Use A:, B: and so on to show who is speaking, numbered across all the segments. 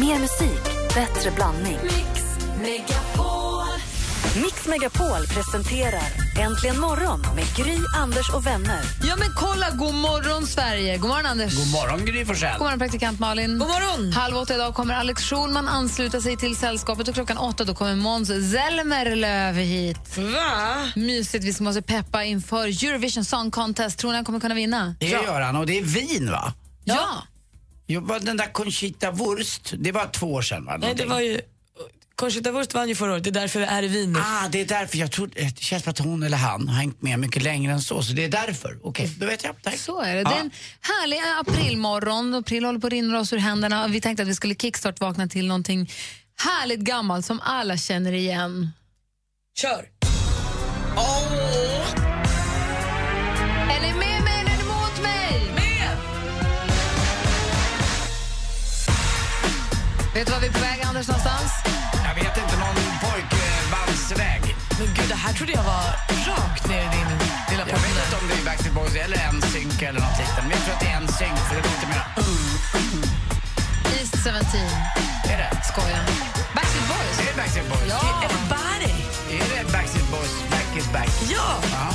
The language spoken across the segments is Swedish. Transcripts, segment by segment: A: Mer musik, bättre blandning.
B: Mix Megapol.
A: Mix Megapol presenterar Äntligen morgon med Gry, Anders och vänner.
C: Ja men kolla, god morgon Sverige! God morgon Anders!
D: God morgon Gry Forssell.
C: God morgon, praktikant Malin.
B: God morgon.
C: Halv åtta idag kommer Alex Schulman ansluta sig till sällskapet och klockan åtta då kommer Måns Zelmerlöw hit.
B: Va?
C: Mysigt, vi måste peppa inför Eurovision Song Contest. Tror ni han kommer kunna vinna?
D: Det gör han och det är vin va?
C: Ja!
D: Jo, vad- den där Conchita Wurst, det var två år sedan va?
B: Nej, det
D: Någonting.
B: var ju... Conchita Wurst vann ju förra året, det är därför vi är i Wien nu.
D: Ah, det är därför. Jag tror, det känns som att hon eller han har hängt med mycket längre än så, så det är därför. Okej, då vet jag. Tack.
C: Så är det.
D: Ja.
C: Det är en härlig aprilmorgon. April håller på att rinna oss ur händerna. Vi tänkte att vi skulle kickstart-vakna till någonting härligt gammalt som alla känner igen.
B: Kör!
C: Är ni med mig eller är ni mot mig?
B: Med!
C: Vet du var vi är på väg, Anders, någonstans?
D: Jag vet inte, någon pojkbandsväg.
B: Men gud, det här trodde jag var rakt ner i din lilla
D: Jag vet inte
B: podd.
D: om det är Backstreet Boys eller NSYNC eller något liknande, men jag tror att det är NSYNC för det låter mer...
C: East 17.
D: Är Mm, det?
C: Skojar. Backstreet Boys.
D: Är det Backstreet Boys?
C: Ja.
B: Everybody!
D: Är det Backstreet Boys? Back is back.
B: Ja!
D: Ja.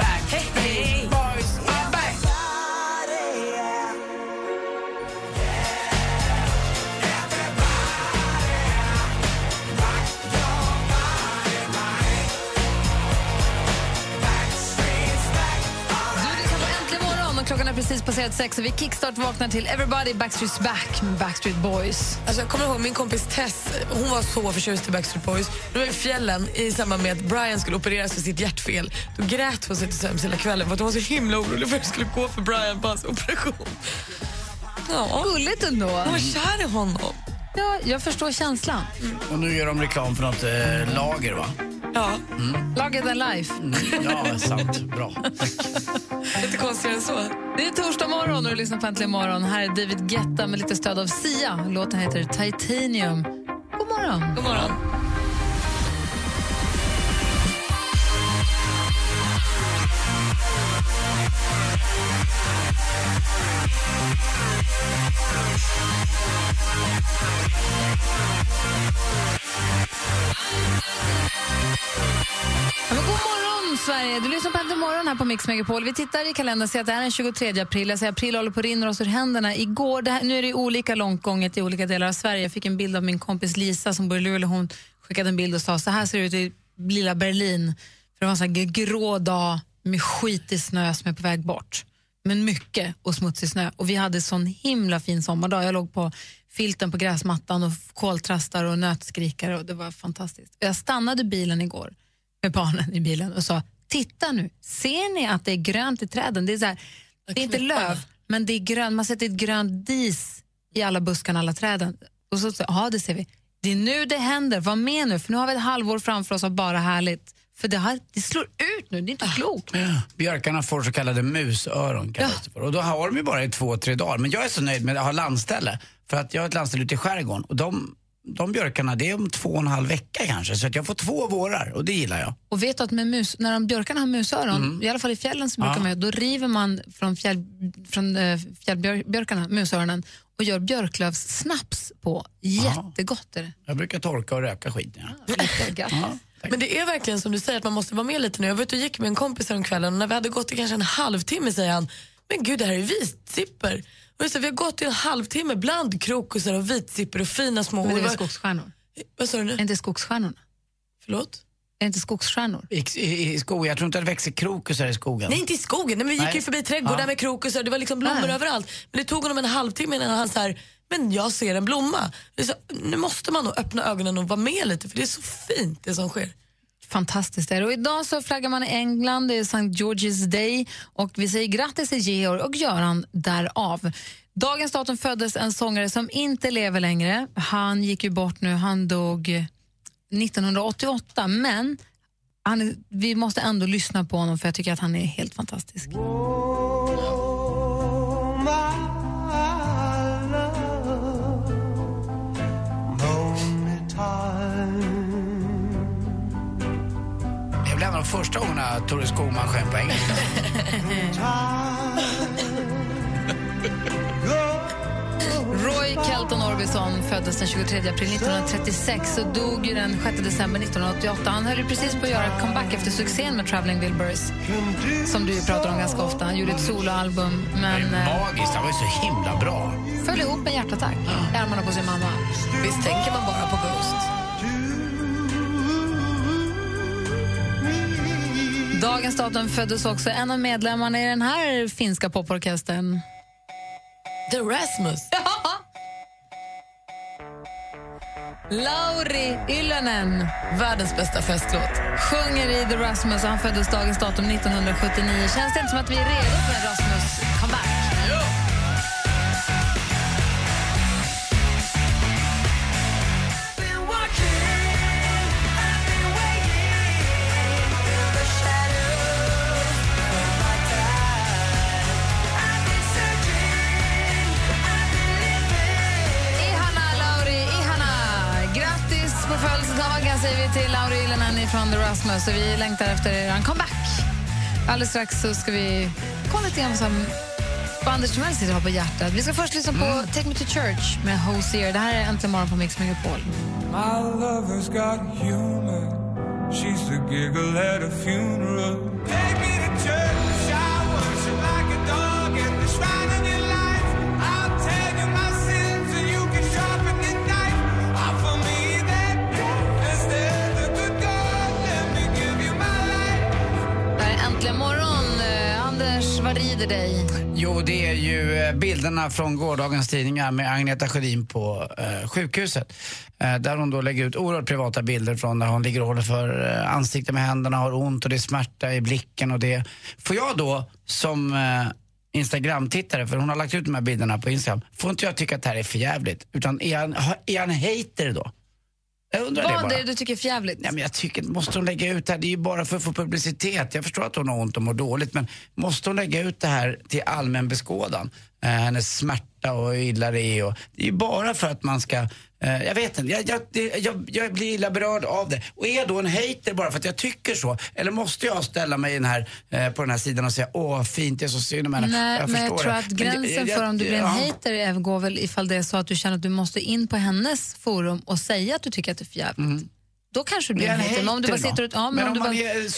D: Back.
B: Hey, hey.
D: Boys are back.
C: Du lyssnar på Äntligen morgon och klockan är precis passerat sex och vi kickstart vaknar till Everybody Backstreet's Back med Backstreet Boys.
B: Alltså, jag kommer ihåg min kompis Tess, hon var så förtjust i Backstreet Boys. Det var i fjällen i samband med att Brian skulle opereras för sitt hjärtfel. Då grät hon sig till sömns hela kvällen för att hon var så himla orolig för att det skulle gå för Brian på hans operation. Ja,
C: Gulligt ändå.
B: hon var kär i honom.
C: Ja, jag förstår känslan.
D: Och nu gör de reklam för något eh, lager, va?
B: Ja,
D: Mm.
C: Laget and life.
D: Ja, sant. Bra.
B: inte konstigare än så.
C: Det är torsdag morgon och du lyssnar på Äntligen morgon. Här är David Guetta med lite stöd av Sia. Låten heter Titanium. God morgon.
B: God morgon.
C: Ja, men god morgon, Sverige! Du lyssnar på Äntligen morgon här på Mix Megapol. Vi tittar i kalendern och ser att det här är den 23 april. Jag säger april håller på att rinna oss ur händerna. Igår, det här, nu är det olika långt gånget i olika delar av Sverige. Jag fick en bild av min kompis Lisa som bor i Luleå. Hon skickade en bild och sa så här ser det ut i lilla Berlin. För det var en sån här grå dag med skitig snö som är på väg bort. Men mycket och smutsig snö. Och vi hade sån himla fin sommardag. Jag låg på filten på gräsmattan och koltrastar och nötskrikare och det var fantastiskt. Jag stannade bilen igår med barnen i bilen och sa, titta nu, ser ni att det är grönt i träden? Det är, så här, det är inte
B: knopparna.
C: löv, men det är grönt. Man sätter ett grönt dis i alla buskarna, alla träden. Och så, så ja det ser vi. Det är nu det händer, var med nu, för nu har vi ett halvår framför oss av bara härligt. För det, har, det slår ut nu, det är inte klokt.
D: Björkarna får så kallade musöron. kallas det för. Och då har de ju bara i två, tre dagar. Men jag är så nöjd med att ha landställe. För att jag har ett landställe ute i skärgården. Och de, de björkarna, det är om två och en halv vecka kanske. Så att jag får två vårar och det gillar jag.
C: Och vet du att med mus, när de björkarna har musöron, i alla fall i fjällen så brukar
D: Ja.
C: man, ju- då river man från, fjäll, från eh, fjällbjörkarna, musöronen, och gör björklövssnaps på. Jättegott är det.
D: Jag brukar torka och röka skiten. Ja. Ah.
C: Jättegott.
D: Ja, tack.
B: Men det är verkligen som du säger att man måste vara med lite nu. Jag var ute och gick med en kompis kvällen och när vi hade gått i kanske en halvtimme säger han, men gud det här är vitsipper. Och just, det, vi har gått i en halvtimme bland krokusar och vitsipper och fina små...
C: Men det är
B: och
C: väl
B: det var-
C: skogsstjärnor?
B: Vad sa du
C: Är
B: nu?
C: inte skogsstjärnorna?
B: Förlåt?
C: Är inte skogsstjärnor?
D: I, i, I skogen, jag tror inte att det växer krokusar i skogen.
B: Nej, inte i skogen. Nej, men vi gick
D: Nej.
B: ju förbi trädgårdar
D: Ja.
B: med krokusar det var liksom blommor
C: Nej.
B: överallt. Men det tog honom en halvtimme innan han så här, men jag ser en blomma. Jag sa, nu måste man nog öppna ögonen och vara med lite för det är så fint det som sker.
C: Fantastiskt är det. Och idag så flaggar man i England, det är St. George's Day och vi säger grattis till Georg och Göran därav. Dagens datum föddes en sångare som inte lever längre. Han gick ju bort nu, han dog 1988, men han, är- vi måste ändå lyssna på honom för jag tycker att han är helt fantastisk.
D: Det är väl en av de första gångerna Thore Skogman sjöng på engelska.
C: Roy Roy Kelton Orbison föddes den 23 april 1936 och dog ju den 6 december 1988. Han höll ju precis på att göra comeback efter succén med Traveling Wilburys som du ju pratar om ganska ofta. Han gjorde ett soloalbum, men eh,
D: Magiskt, han var ju så himla bra.
C: föll ihop med en hjärtattack i armarna på sin mamma.
B: Visst tänker man bara på Ghost?
C: Dagens datum föddes också en av medlemmarna i den här finska poporkestern.
B: The Rasmus.
C: Lauri Ylänen
B: Världens bästa festlåt.
C: sjunger i The Rasmus och han föddes dagens datum 1979. Känns det inte som att vi är redo för en Rasmus-comeback? Ihana, Lauri, ihana! Grattis på födelsedagen säger vi till Lauri Ylänen från The Rasmus och vi längtar efter er comeback. Alldeles strax så ska vi kolla lite grann vad som vad Anders Timell sitter och har på hjärtat. Vi ska först lyssna på
D: Mm.
C: Take Me To Church med Hosier. Det här är Äntligen morgon på Mix Megapol.
E: My lover's got humor. She's the giggle at a funeral. Take me to church. I worship like a dog at the shrine of your life. I'll tell you my sins and you can sharpen your knife. Offer me that death instead of good God. Let me give you my life.
C: Det här är Äntligen morgon. Eh, Anders, vad rider dig?
D: Jo, det är ju eh, bilderna från gårdagens tidningar med Agneta Sjödin på eh, sjukhuset. Eh, där hon då lägger ut oerhört privata bilder från när hon ligger och håller för eh, ansiktet med händerna, har ont och det är smärta i blicken och det. Får jag då som eh, Instagram-tittare, för hon har lagt ut de här bilderna på Instagram, får inte jag tycka att det här är för jävligt? Utan är han, ha- är han hater då? Jag undrar det
C: Vad
D: bara.
C: är det du tycker är förjävligt?
D: Nej, men jag tycker, måste hon lägga ut det här? Det är ju bara för att få publicitet. Jag förstår att hon har ont och mår dåligt, men måste hon lägga ut det här till allmän beskådan? Eh, hennes smärta och hur illa det är. Och, det är ju bara för att man ska... Eh, jag vet inte, jag, jag, det, jag, jag blir illa berörd av det. Och är jag då en hater bara för att jag tycker så? Eller måste jag ställa mig i den här, eh, på den här sidan och säga åh fint, det är så synd om henne.
C: Nej, men jag
D: förstår
C: tror
D: det.
C: att
D: Men jag-
C: gränsen
D: jag-
C: för om du blir en
D: ja.
C: hater är- går väl ifall det är så att du känner att du måste in på hennes forum och säga att du tycker att det är förjävligt. Då kanske du
D: Blir
C: blir en
D: han
C: hater. Men om du bara
D: Mm. hater då?
C: sitter och, ja, men
D: men
C: om du
D: man
C: bara,
D: är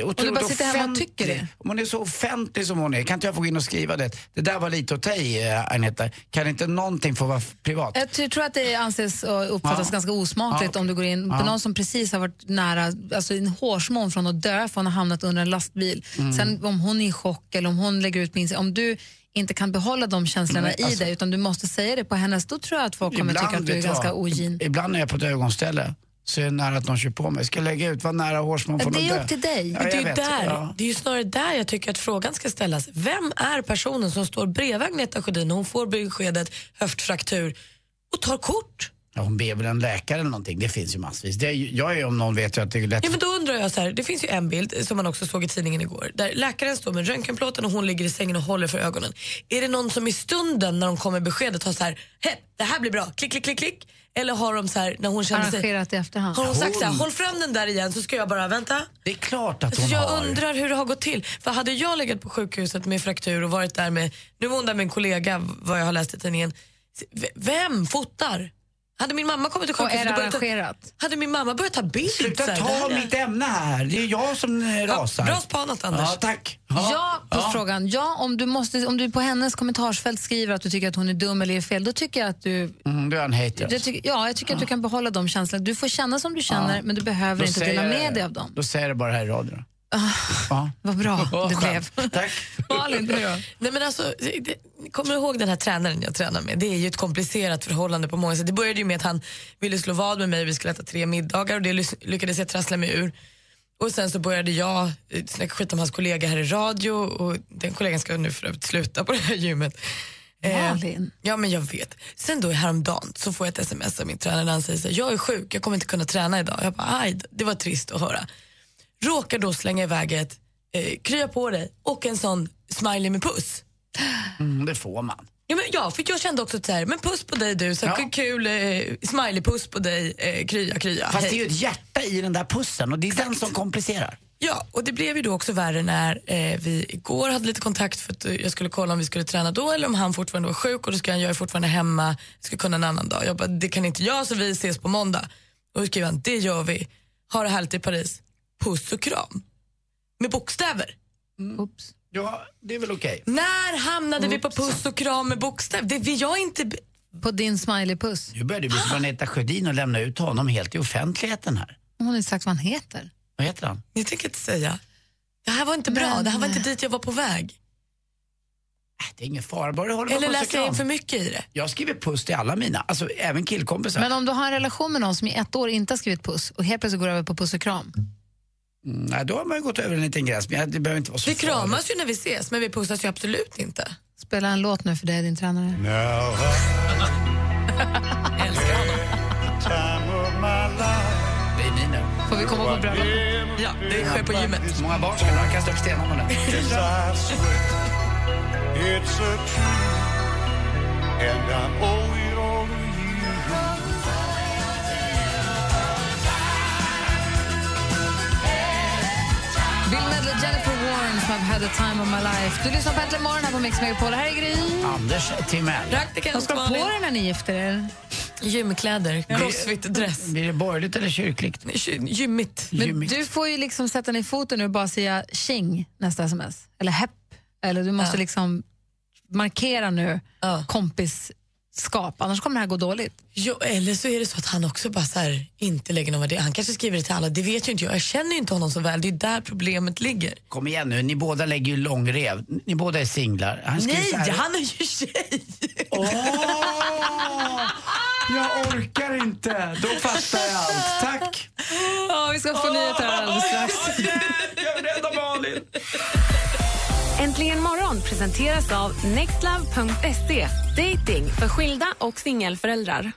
D: så otroligt
C: bara sitter hemma och tycker det.
D: Om hon är så offentlig som hon är, kan inte jag få gå in och skriva det? Det där var lite åt dig, eh, Agneta. Kan inte någonting få vara f- privat?
C: jag ty- tror att det anses och uppfattas
D: Ja.
C: ganska osmakligt
D: Ja, okej.
C: om du går in på
D: Ja.
C: någon som precis har varit nära, alltså en hårsmån från att dö för hon har hamnat under en lastbil.
D: Mm.
C: Sen om hon är i chock eller om hon lägger ut på Instagram, om du inte kan behålla de känslorna
D: Nej, alltså-
C: i dig utan du måste säga det på hennes, då tror jag att folk kommer
D: Ibland,
C: tycka att du är
D: vet jag,
C: ganska ogin.
D: Ibland när jag är på ett ögonställe så är det nära att någon kör på mig. Ska jag lägga ut, vad nära hårsmån
C: Ja,
D: från
C: det
D: att
C: är
D: dö?
C: upp till dig.
D: Ja,
C: Men
B: Det är,
D: jag
B: ju
D: vet.
B: där,
D: Ja.
B: det är ju snarare där jag tycker att frågan ska ställas. Vem är personen som står bredvid Agneta Sjödin när hon får beskedet höftfraktur och tar kort?
D: Ja, hon ber väl en läkare eller någonting. Det finns ju massvis. Det är, ju- jag är om någon vet ju att det är lätt
B: Ja, men då undrar jag så här, det finns ju en bild eh, som man också såg i tidningen igår där läkaren står med röntgenplåten och hon ligger i sängen och håller för ögonen. Är det någon som i stunden när de kommer med beskedet har så här, "Heh, det här blir bra, klick, klick, klick, klick? Eller har de så här, när hon känner sig...
C: Arrangerat i efterhand.
B: Har hon sagt så här,
D: Hon-
B: håll fram den där igen så ska jag bara vänta?
D: Det är klart att
C: Alltså,
B: Så
D: hon
B: jag
D: har.
B: undrar hur det har gått till. För hade jag legat på sjukhuset med fraktur och varit där med, nu var hon där med en kollega vad jag har läst i tidningen. V- Vem fotar? Hade min mamma kommit till
C: Och är
B: sjukhuset
C: det
B: börjat ta,
C: arrangerat?
B: hade min mamma börjat ta bild?
D: Sluta
B: Typ så här,
D: ta
B: där, ja.
D: mitt ämne här. Det är jag som eh, rasar.
B: bra spanat, Anders.
D: Ja, tack.
C: Ja, på frågan. Ja, om du, måste, om du på hennes kommentarsfält skriver att du tycker att hon är dum eller är fel, då tycker jag att du...
D: Mm, du är en hater.
C: Jag tycker, ja, jag tycker att du kan behålla de känslorna. Du får känna som du känner, men du behöver
D: Då
C: inte
D: säger
C: dela
D: jag
C: med
D: det.
C: dig av dem.
D: Då säger jag det bara här i radion. Ja.
C: Vad bra det
D: skönt.
C: blev.
D: Tack.
C: Malin, du då?
B: Nej, men alltså, det- det- kommer du ihåg den här tränaren jag tränar med? Det är ju ett komplicerat förhållande på många sätt. Det började ju med att han ville slå vad med mig, vi skulle äta tre middagar och det lys- lyckades jag trassla mig ur. Och sen så började jag eh, snacka skit om hans kollega här i radio och den kollegan ska nu för övrigt sluta på det här gymmet. Eh,
C: Malin.
B: Ja men jag vet. Sen då häromdagen så får jag ett sms av min tränare där han säger så här, jag är sjuk, jag kommer inte kunna träna idag. Jag bara, aj, det var trist att höra. Råkar då slänga iväg ett eh, krya på dig och en sån smiley med puss.
D: Mm, det får man.
B: Ja, men ja, för jag kände också att så här, men puss på dig du, så här,
D: Ja.
B: kul eh, smiley-puss på dig, eh, krya krya.
D: Fast
B: hej.
D: det är ju ett hjärta i den där pussen och det är den som komplicerar.
B: Ja, och det blev ju då också värre när eh, vi igår hade lite kontakt för att eh, jag skulle kolla om vi skulle träna då eller om han fortfarande var sjuk och då ska han, jag är fortfarande hemma, ska kunna en annan dag. Jag bara, det kan inte jag så vi ses på måndag. Och då skriver han, det gör vi. Ha det härligt i Paris. Puss och kram. Med bokstäver.
C: Mm. Oops.
D: Ja, det är väl okej.
B: När hamnade vi på puss och kram med bokstäver? Det vill jag inte... be-
C: På din smiley-puss.
D: Nu börjar det bli som Anita Sjödin och lämna ut honom helt i offentligheten här.
C: Hon har inte sagt vad han heter.
D: Vad heter han? Äh,
B: Ni tänker inte säga. Det här var inte bra,
C: Men-
B: det här var inte dit jag var på väg.
D: Äh, Det är ingen fara, bara det håller
B: Eller
D: på
B: läser jag in för mycket i det?
D: Jag skriver puss till alla mina, alltså även killkompisar.
C: Men om du har en relation med någon som i ett år inte har skrivit puss och helt plötsligt går över på puss och kram.
D: Mm, Nej, då har man ju gått över en liten gräns, men jag- det behöver inte vara så
B: Vi kramas ju när vi ses, men vi pussas ju absolut inte.
C: Spela en låt nu för dig, din tränare.
B: Jag älskar honom.
D: Det är ni nu.
C: Får vi komma på bröllop?
B: Ja, det sker på gymmet.
D: Så många barn ska du ha? Kasta upp stenarna nu.
C: Bill Medley, Jennifer Warren, som I've had the time of my life. Du lyssnar på Äntligen morgon här på Mix Megapol. Här är Gry.
D: Anders Timell.
C: Vad
B: Praktikant
C: ska du ha på dig när ni gifter er?
B: Gymkläder, crossfit-dress.
D: Blir det borgerligt eller kyrkligt?
B: Gy- Gymmigt.
C: Men
D: Gymmigt.
C: du får ju liksom sätta ner foten nu och bara säga tjing nästa sms. Eller hepp. Eller du måste
B: Ja.
C: liksom markera nu
B: Ja.
C: kompisskap. Annars kommer det här gå dåligt.
B: Jo, eller så är det så att han också bara så här, inte lägger någon värdering. Han kanske skriver det till alla, det vet ju inte jag. Jag känner ju inte honom så väl, det är ju där problemet ligger.
D: Kom igen nu, ni båda lägger ju långrev. Ni båda är singlar. Han skriver
B: Nej,
D: så här-
B: han är ju tjej!
D: Åh! Jag orkar inte. Då fattar jag allt. Tack.
C: Ja, vi ska få nyheter alldeles strax.
A: Äntligen morgon presenteras av nextlove.se. Dating för skilda och singelföräldrar.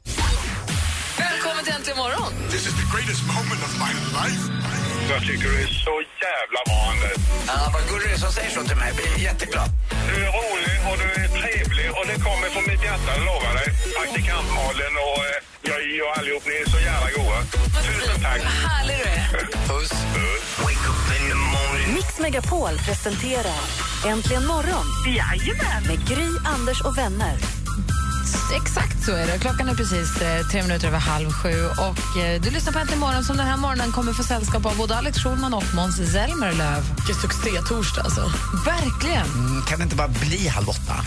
C: Välkommen till Äntligen morgon.
F: This is the greatest moment of my life.
G: Jag tycker du är så jävla bra, Anders.
D: Ja, vad gullig du är som säger så till mig. Jag blir jätteglad.
G: Du är rolig och du är trevlig och det kommer från mitt hjärta, jag lovar dig. Praktikant Malin och eh, jag och allihop, ni är så jävla goa. Tusen tack.
B: Härlig du är.
D: Puss.
A: Mix Megapol presenterar Äntligen morgon med Gry, Anders och vänner.
C: Exakt så är det. Klockan är precis eh, tre minuter över halv sju. Och, eh, du lyssnar på Äntligen morgon som den här morgonen kommer få sällskap av både Alex Schulman och Måns Zelmerlöw.
B: Vilken succé-torsdag alltså. Mm.
C: Verkligen.
D: Kan det inte bara bli halv åtta?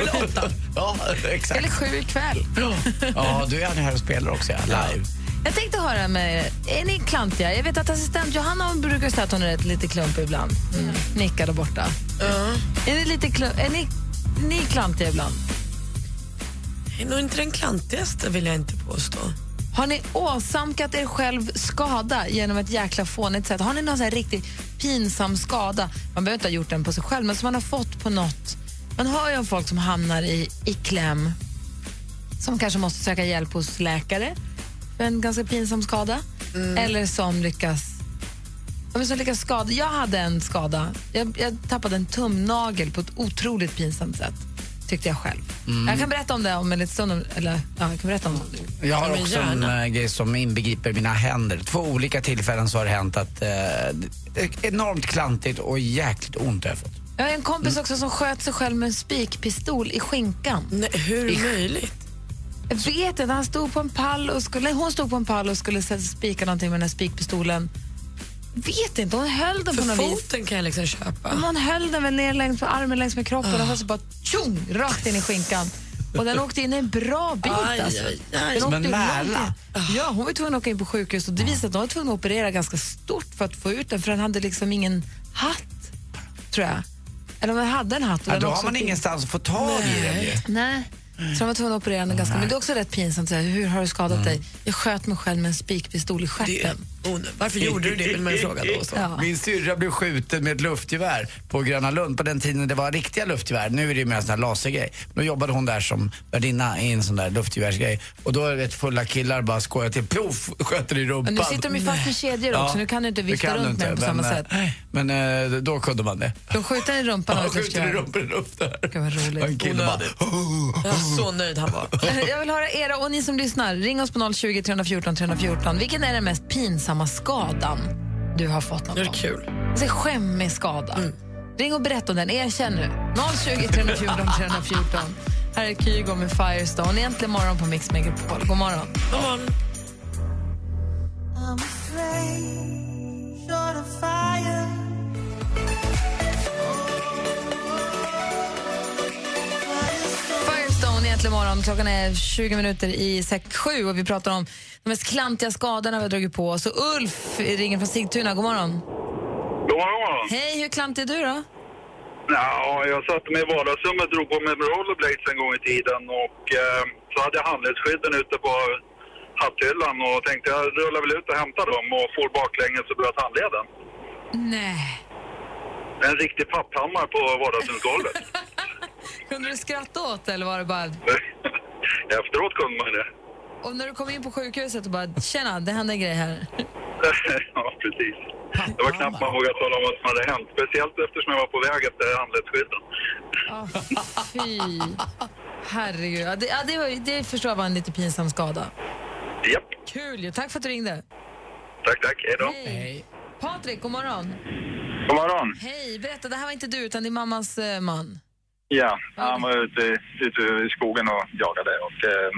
B: Eller åtta.
D: Ja, exakt.
C: Eller sju ikväll.
D: Ja, du är här och spelar också, ja. Live.
C: Jag tänkte höra med er. Är ni klantiga? Jag vet att assistent Johanna brukar säga att hon är rätt lite klumpig ibland. Mm.
B: Mm.
C: Nickar där borta. Är ni lite klump... Är ni, ni är klantiga ibland?
B: Jag är nog inte den klantigaste vill jag inte påstå.
C: Har ni åsamkat er själv skada genom ett jäkla fånigt sätt? Har ni någon sån här riktigt pinsam skada? Man behöver inte ha gjort den på sig själv, men som man har fått på något. Man hör ju om folk som hamnar i, i kläm, som kanske måste söka hjälp hos läkare för en ganska pinsam skada.
D: Mm.
C: Eller som lyckas, ja, men som lyckas skada. Jag hade en skada. Jag, jag tappade en tumnagel på ett otroligt pinsamt sätt, tyckte jag själv.
D: Mm.
C: Jag kan berätta om det om en liten stund. om- Eller, ja, jag kan berätta om det.
D: Jag har
B: Ja, men
D: också en eh, grej som inbegriper mina händer. Två olika tillfällen så har det hänt att eh, det är enormt klantigt och jäkligt ont har jag fått.
C: Jag har en kompis
D: Mm.
C: också som sköt sig själv med en spikpistol i skinkan.
B: Nej, hur är det möjligt?
C: Jag vet inte, han stod på en pall och skulle, nej, hon stod på en pall och skulle sätta- spika någonting med den här spikpistolen. Vet inte, hon höll den på
B: För
C: något vis.
B: foten kan jag liksom köpa.
C: Men Hon höll den väl ner längs med armen längs med
D: Ah.
C: kroppen och så bara tjong, rakt in i skinkan. Och den åkte in en bra bit.
B: Aj,
C: alltså.
B: aj, aj.
C: Den
D: Som
C: åkte
D: en
C: ju långt
D: Ah.
C: in.
D: märla.
C: Ja, hon var ju tvungen att åka in på sjukhus och det visade att de var tvungna att operera ganska stort för att få ut den för den hade liksom ingen hatt, tror jag. Eller om den hade en hatt. Och
D: Ja,
C: den
D: då
C: också
D: har man
C: åkte in.
D: ingenstans att få tag i den ju.
C: Nej. Så de var tvungna att operera henne ganska Men det är också rätt pinsamt. Så här, hur har du skadat
D: Mm.
C: dig? Jag sköt mig själv med en spikpistol i
B: Det,
C: stjärten.
B: oh, varför gjorde du det vill man ju fråga då. och Så.
C: Ja.
D: Min syrra blev skjuten med ett luftgevär på Gröna Lund på den tiden det var riktiga luftgevär. Nu är det ju mer en sån här lasergrej. Då jobbade hon där som värdinna i en sån där luftgevärsgrej. Och då vet fulla killar bara skojar till. Ploff! Sköter i rumpan.
C: Men nu sitter de ju fast med kedjor också.
D: Ja,
C: Nu kan du inte
D: det
C: vifta
D: kan du
C: runt med den på samma
D: inte, men,
C: sätt.
D: eh, Men eh, då kunde man det.
C: De skjuter i rumpan av
D: Han
C: ett
D: skjuter i
C: luftgevär.
D: rumpan i luften.
C: Gud, vad roligt.
D: Och En kille bara...
B: Onödigt. Ja, så nöjd han var.
C: Jag vill höra era och ni som lyssnar. Ring oss på 020 314 314. Vilken är den mest pinsamma skadan du har fått något
B: Det är
C: av.
B: kul.
C: Alltså, skämmig skada. Ring och berätta om den. Erkänn nu. 020 314 314. Här är Kygo med Firestone. Äntligen morgon på Mix Megapol. God morgon.
B: God morgon.
C: Firestone i Äntligen morgon. Klockan är 20 minuter i säck 7 och vi pratar om de mest klantiga skadorna vi har dragit på oss. Och Ulf ringer från Sigtuna. God morgon.
G: God morgon.
C: Hej, hur klantig är du då?
G: Ja, jag satte mig i vardagsrummet och drog på mig rollerblades en gång i tiden och eh, så hade jag handledsskydden ute på hatthyllan och tänkte jag rullar väl ut och hämtar dem och får baklänges och bröt handleden.
C: Nej.
G: En riktig papphammar på vardagsrumsgolvet.
C: Kunde du skratta åt det, eller var det bara...
G: Efteråt kunde man ju det.
C: Och när du kom in på sjukhuset och bara tjena, det hände en grej här.
G: ja, precis. Det var knappt man vågade tala om vad som hade hänt. Speciellt eftersom jag var på väg efter handledsskydden.
C: Oh, fy. Herregud. Ja, det, ja, det, var, ju- det förstår jag var en lite pinsam skada.
G: Japp,
C: Kul ju. Tack för att du ringde.
G: tack, tack. Hej då.
D: Nej.
C: Patrik, god morgon.
G: God morgon.
C: Hej, berätta. Det här var inte du, utan din mammas eh, man.
G: Ja, han var ute, ute i skogen och jagade och eh,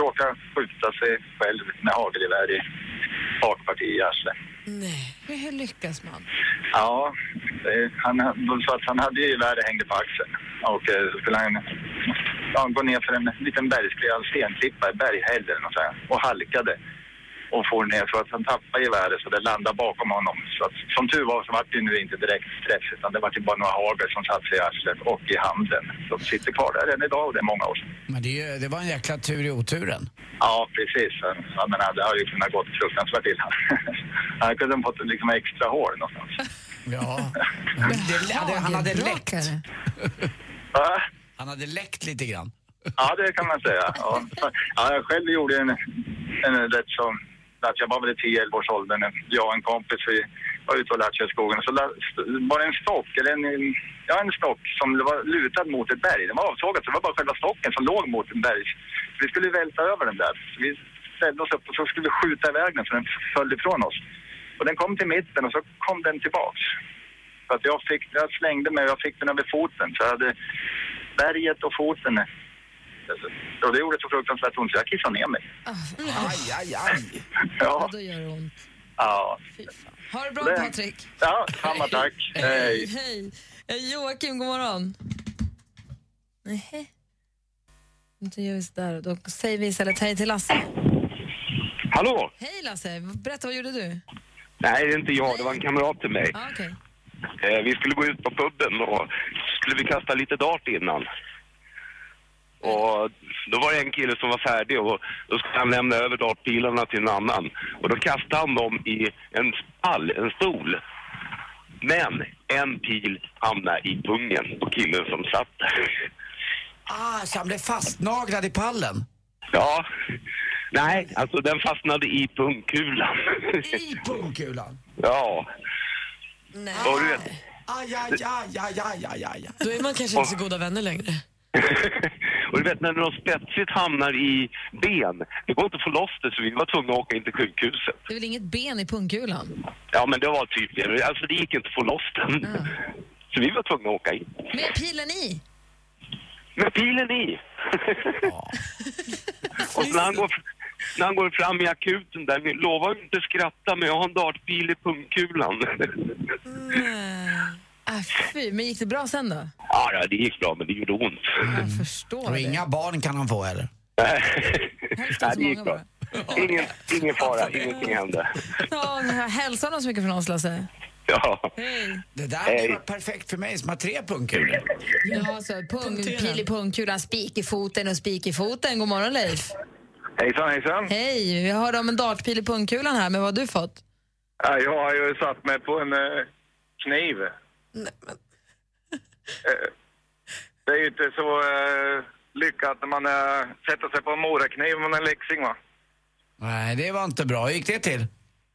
G: råkade skjuta sig själv med hagelgevär i bakparti i arslet.
B: Nej.
C: Hur lyckas man?
G: Ja, eh, han, så att han hade ju geväret hängde på axeln och eh, så skulle han ja, gå ner för en liten bergskliv, stenklippa, en berghäll eller något sånt här, och halkade och får ner så att han tappade geväret så det landade bakom honom. Så att, som tur var så var det ju nu inte direkt träff utan det var ju bara några hagel som satt sig i arslet och i handen. Så de sitter kvar där än idag och det är många år sedan.
D: Men det, är ju- det var en jäkla tur i oturen.
G: Ja, precis. Jag menar, det har ju kunnat gått fruktansvärt illa. Han kunde ha fått liksom extra hår någonstans.
D: Ja. Det, hade, han hade läckt.
C: Hagelbrakare.
G: Ja,
D: Han hade läckt lite grann.
G: Ja, det kan man säga. Ja. Ja, jag själv gjorde en, en rätt som... Att jag var väl i 10-11 års åldern. Jag och en kompis vi var ute och lattjade i skogen. Så la- var det en stock, eller en, en- ja, en stock som var lutad mot ett berg. Den var avsågad, så det var bara själva stocken som låg mot en berg. Så vi skulle välta över den där. Så vi ställde oss upp och så skulle vi skjuta iväg den så den föll ifrån oss. Och den kom till mitten och så kom den tillbaks. För att jag, fick, jag slängde mig och jag fick den över foten. Så jag hade berget och foten. Och det gjorde så fruktansvärt ont så jag kissade ner mig.
D: Aj, aj, aj.
C: Ja,
G: Ja,
C: då gör det ont.
G: ja.
C: Fy fan. Ha det bra,
G: Det-
C: Patrik.
G: ja samma tack. Hej.
C: Hej. Eh, Joakim, god morgon. Nej. Då gör vi sådär. Då säger vi istället hej till Lasse.
H: Hallå!
C: Hej Lasse, berätta vad gjorde du?
H: Nej, det är inte jag. Det var en kamrat till mig.
C: Ah, okej.
H: Eh, vi skulle gå ut på puben och skulle vi kasta lite dart innan. Och då var det en kille som var färdig och då skulle han lämna över dartpilarna till en annan. Och då kastade han dem i en pall, en stol. Men en pil hamnade i pungen på killen som satt där.
D: Ah, så han blev fastnaglad i pallen.
H: Ja, nej, alltså den fastnade i pungkulan.
D: I pungkulan.
H: ja,
B: Nej.
H: och du vet,
D: Aj, aj, aj, aj, aj, aj, aj.
B: Då är man kanske inte så goda vänner längre.
H: och du vet när något spetsigt hamnar i ben, det går inte att få loss det så vi var tvungna att åka in till sjukhuset.
C: Det är väl inget ben i pungkulan?
H: Ja men det var tydligen, alltså det gick inte att få loss den. Så vi var tvungna att åka in.
C: Med pilen i?
H: Med pilen i! och när han, går, när han går fram i akuten där, ni lovar ju inte skratta men jag har en dartpil i pungkulan.
C: Ah, fy, men gick det bra sen då?
H: ja, ja, det gick bra men det gjorde ont.
C: Jag förstår
D: Och
C: det.
D: inga barn kan han få heller.
H: Nej, det gick bra. Ingen, ingen fara, ingenting hände.
C: Ja, hälsa honom så mycket från oss Lasse.
H: Ja.
C: Hej.
D: Det där
H: Hej.
D: hade varit perfekt för mig som har tre pungkulor.
C: Ja, så pung, pil i pungkulan, spik i foten och spik i foten. God morgon Leif.
G: Hejsan, hejsan.
C: Hej, vi hörde om en dartpil i pungkulan här, men vad har du fått?
G: Ja, jag har ju satt mig på en eh, kniv.
B: Nej, men.
G: Eh, det är ju inte så eh, lyckat när man eh, sätter sig på en morakniv med en leksing, va?
D: Nej, det var inte bra. Hur gick det till?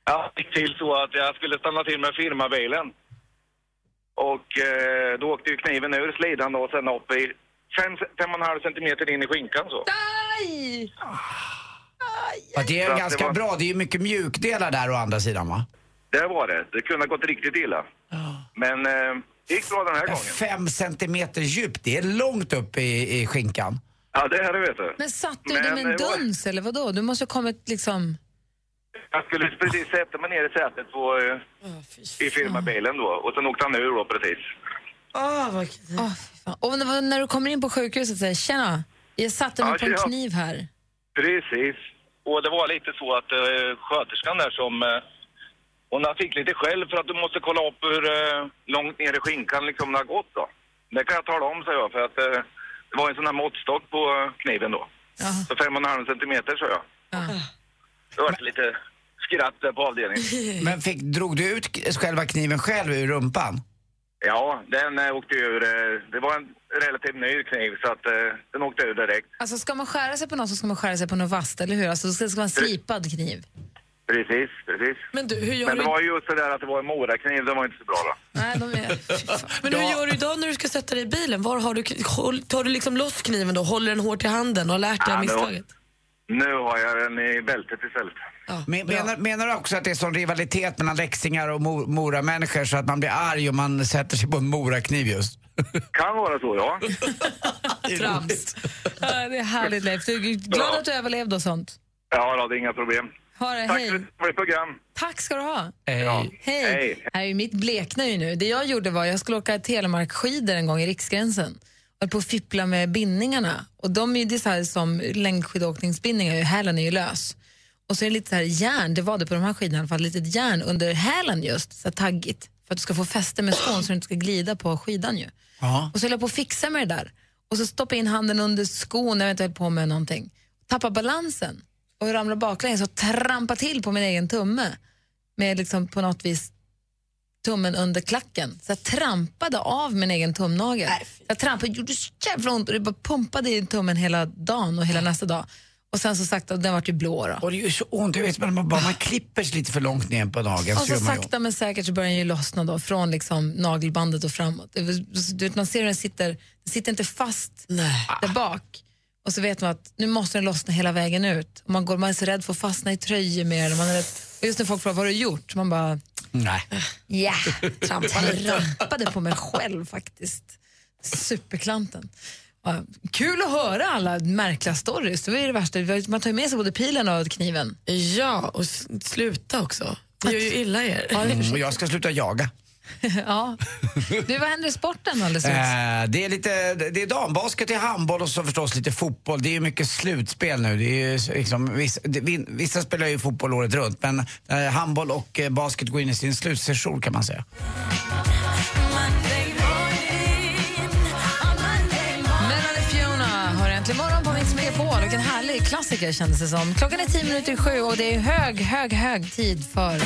G: Ja, det gick till så att jag skulle stanna till med firmabilen. Och eh, då åkte ju kniven ur slidan då, och sen upp i fem, fem och en halv centimeter in i skinkan så.
C: Aj!
D: Att det
G: Så
D: är
G: att det
D: ganska
G: var-
D: bra. Det är ju mycket mjukdelar där å andra sidan, va?
G: Det var det. Det kunde ha gått riktigt illa. Men eh, det gick bra den här gången.
D: Fem centimeter djupt, det är långt upp i, i skinkan.
G: Ja, det här vet du.
C: Men satte du
G: Men
C: den en
G: det var-
C: duns eller vad då? Du måste ha kommit liksom...
G: Jag skulle precis sätta mig ner i sätet på, eh,
B: Åh, fy
G: i firmabilen då och sen åkte han ur då precis.
B: fan, vad kul.
C: Åh, fy fan. Och när när du kommer in på sjukhuset och säger tjena, jag satte mig
G: Ja,
C: på en
G: tjena.
C: kniv här.
G: Precis. Och det var lite så att eh, sköterskan där som... Eh, hon fick lite skäll för att du måste kolla upp hur eh, långt ner i skinkan liksom det har gått då. Det kan jag tala om, sa jag, för att eh, det var en sån här måttstock på eh, kniven då. Så fem och en halv centimeter, sa jag. Det var lite skratt där på avdelningen.
D: Men fick, drog du ut k- själva kniven själv ur rumpan?
G: Ja, den eh, åkte ur. Eh, det var en relativt ny kniv så att eh, den åkte ur direkt.
C: Alltså ska man skära sig på något så ska man skära sig på något vasst, eller hur? Alltså det ska det ska vara en slipad kniv.
G: Precis, precis.
B: Men du, hur gör
G: Men det
B: du,
G: var just det där att det var en morakniv, den var inte så bra då.
C: Nej, de är... fy fan.
B: men hur gör du idag när du ska sätta dig i bilen? Var har du, k- håll- tar du liksom loss kniven då, håller den hårt i handen och har lärt dig
G: Ja,
B: av
G: men-
B: misstaget?
G: Nu har jag den i bältet istället.
B: Ja,
D: Men,
B: bra.
D: menar, menar du också att det är sån rivalitet mellan läxingar och mor, moramänniskor så att man blir arg om man sätter sig på en morakniv just?
G: Kan vara så, ja.
B: Trams.
C: Ja, det är härligt Leif. Du är glad
G: Ja.
C: att du överlevde och sånt.
G: Ja, då, det är inga problem.
C: Ha det,
G: Tack
C: hej.
G: för ett trevligt program.
C: Tack ska du ha.
D: Eh,
C: Hej.
G: Hej.
C: Här är ju mitt blekna ju nu. Det jag gjorde var jag skulle åka telemarkskidor en gång i Riksgränsen. Jag höll på att fippla med bindningarna. Och de är ju det är så här som längdskidåkningsbindningar, ju. hälen är ju lös. Och så är det lite så här järn, det var det på de här skidorna i alla fall, litet järn under hälen just, så här taggigt. För att du ska få fäste med skon så du inte ska glida på skidan ju.
D: Ja.
C: Och så höll jag på att fixa med det där. Och så stoppade jag in handen under skon när jag inte höll på med någonting. Tappade balansen och ramlade baklänges och trampade till på min egen tumme. Med liksom på något vis tummen under klacken. Så jag trampade av min egen tumnagel. jag trampade, det gjorde så jävla ont och det bara pumpade i tummen hela dagen och hela nästa dag. Och sen så sakta, den vart ju blå då.
D: Och det gör så ont, jag vet men man, bara, man klipper sig lite för långt ner på dagen
C: Och
D: så
B: Alltså,
C: så
D: gör man ju ont.
C: sakta men säkert så börjar den ju lossna då, från liksom nagelbandet och framåt. Det var- Du vet, man ser hur den sitter, den sitter inte fast
B: Nej.
C: där bak. Och så vet man att nu måste den lossna hela vägen ut. Och man, går, man är så rädd för att fastna i tröjor med den. Man är rädd, och just när folk frågar vad har du gjort, man bara
D: Nej.
C: ja, trampade, trampade på mig själv faktiskt. Superklanten. Ja, kul att höra alla märkliga stories. Det var ju det värsta. Man tar ju med sig både pilen och kniven.
B: Ja, och s- sluta också. Det gör ju illa er.
D: Mm, och jag ska sluta jaga.
C: Ja. Du, vad händer i sporten alldeles strax?
D: Eh, det är lite, det är dambasket, det är handboll och så förstås lite fotboll. Det är ju mycket slutspel nu. Det är ju liksom, vissa, det, vin- vissa spelar ju fotboll året runt men eh, handboll och eh, basket går in i sin slutsession kan man säga.
B: Äh.
C: Melanie Fiona har äntligen morgon på Mix Megapol. Vilken härlig klassiker kändes det som. Klockan är tio minuter i sju och det är hög, hög, hög tid för...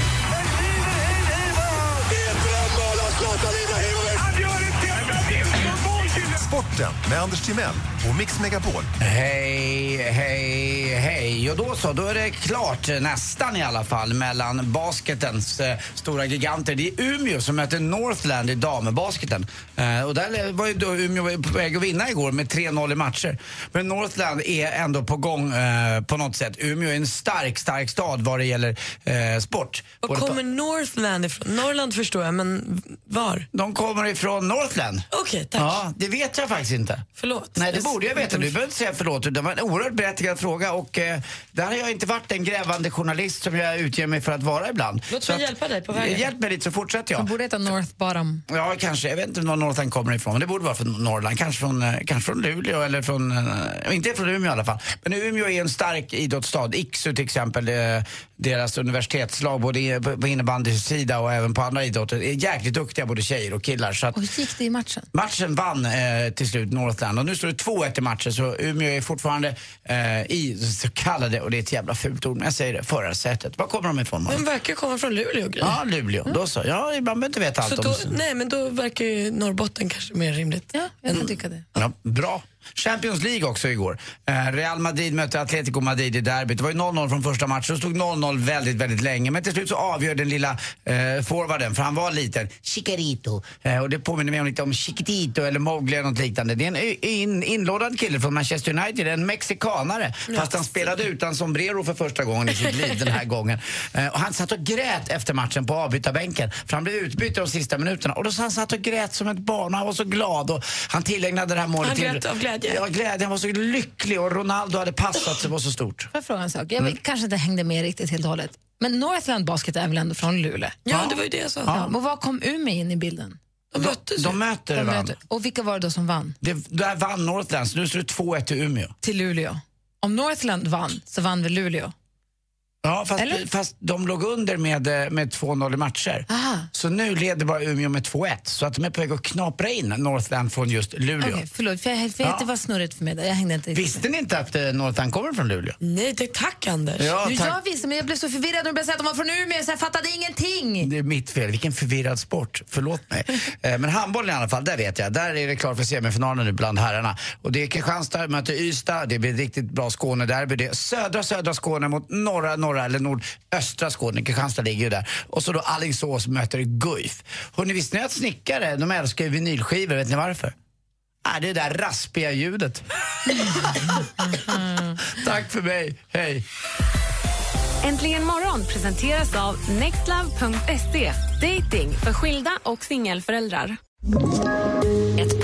I: Sporten med Anders Timell och Mix Megapol.
D: Hej, hej, hej. Och då så, då är det klart eh, nästan i alla fall mellan basketens eh, stora giganter. Det är Umeå som möter Northland i dambasketen. Eh, och där var ju då Umeå på väg att vinna igår med 3-0 i matcher. Men Northland är ändå på gång eh, på något sätt. Umeå är en stark, stark stad vad det gäller eh, sport.
B: Var
D: Både på-
B: kommer Northland ifrån? Norrland förstår jag, men var?
D: De kommer ifrån Northland.
B: Okej, tack.
D: Ja, det vet jag faktiskt inte.
B: Förlåt.
D: Nej, det
B: Jag-
D: borde jag veta. Du behöver inte säga förlåt. Det var en oerhört berättigad fråga och eh, där har jag inte varit en grävande journalist som jag utger mig för att vara ibland.
B: Låt
D: Så
B: mig
D: att- eh,
B: hjälpa dig på vägen.
D: Hjälp mig dit så fortsätter
C: Den
D: jag.
C: borde heta North Bottom.
D: Ja, kanske. Jag vet inte var Norrland kommer ifrån. Men det borde vara från Norrland. Kanske från, eh, kanske från Luleå eller från... eh, Inte från Umeå i alla fall. Men Umeå är en stark idrottsstad. Iksu till exempel, eh, deras universitetslag både i- på på innebandysida och även på andra idrotter, är jäkligt duktiga både tjejer och killar. Så att,
C: Och hur gick det i matchen?
D: Matchen vann eh, till slut Northland och nu står det 2-1 i matchen så Umeå är fortfarande eh, i så kallade, och det är ett jävla fult ord, men jag säger det, förarsätet. Var kommer de ifrån? Malin?
B: Den verkar komma från Luleå, Gry.
D: Ja, Luleå. Då så. Ja, man behöver inte veta
B: Så
D: allt
B: då,
D: om...
B: nej, men då verkar ju Norrbotten kanske mer rimligt.
C: Ja, jag kan tycka det.
D: Ja, bra. Champions League också igår. Eh, Real Madrid mötte Atletico Madrid i derbyt. Det var ju 0-0 från första matchen. Det stod 0-0 väldigt, väldigt länge. Men till slut så avgör den lilla eh, forwarden, för han var liten, Chicarito. Eh, och det påminner mig om lite om Chiquitito eller Mowgli eller något liknande. Det är en y- in, inlådad kille från Manchester United, en mexikanare. Fast han spelade utan sombrero för första gången i sitt liv den här gången. Eh, och han satt och grät efter matchen på avbytarbänken. För han blev utbytt de sista minuterna. Och då så han satt och grät som ett barn och han var så glad. Och han tillägnade det här målet
B: Han grät av glädje.
D: Ja, glädjen. Han var så lycklig och Ronaldo hade passat så det var så stort.
C: Får jag fråga en sak? Jag
B: Mm.
C: kanske inte hängde med riktigt helt och hållet. Men Northland Basket är väl ändå från Luleå?
B: Ja, det var ju det jag sa.
C: Ja, men vad kom Umeå in i bilden?
B: De möttes ju.
D: De möter
C: De
D: varandra.
C: möter- Och vilka var det då som vann?
D: Det, där vann Northland, så nu står det 2-1 till Umeå.
C: Till Luleå. Om Northland vann, så vann väl Luleå?
D: Ja, fast,
C: Eller?
D: fast de låg under med, eh, med 2-0 i matcher.
C: Aha.
D: Så nu leder bara Umeå med 2-1. Så att de är på väg att knapra in Northland från just Luleå.
C: Okej, förlåt. För jag, för jag,
D: Ja.
C: Det var snurrigt för mig. där. Jag hängde inte riktigt med.
D: Visste ni inte att eh, Northland kommer från Luleå?
C: Mm.
B: Nej, tack, tack Anders.
D: Ja,
C: Jo,
D: tack.
C: Jag visste, men jag blev så förvirrad när du började säga att de var från Umeå, så jag fattade ingenting.
D: Det är mitt fel. Vilken förvirrad sport. Förlåt mig. Eh, Men handbollen i alla fall, där vet jag. Där är det klart för semifinalen nu bland herrarna. Och det är Kristianstad möter Ystad. Det blir ett riktigt bra Skånederby. Det är södra, södra Skåne mot norra, norra eller nordöstra Skåne. Kristianstad ligger ju där. Och så då Alingsås möter Guif. Hörrni, visste ni att snickare, de älskar ju vinylskivor. Vet ni varför? Ah, det där raspiga ljudet. Tack för mig. Hej.
A: Äntligen morgon presenteras av nextlove.se. Dating för skilda och singelföräldrar.
J: Ett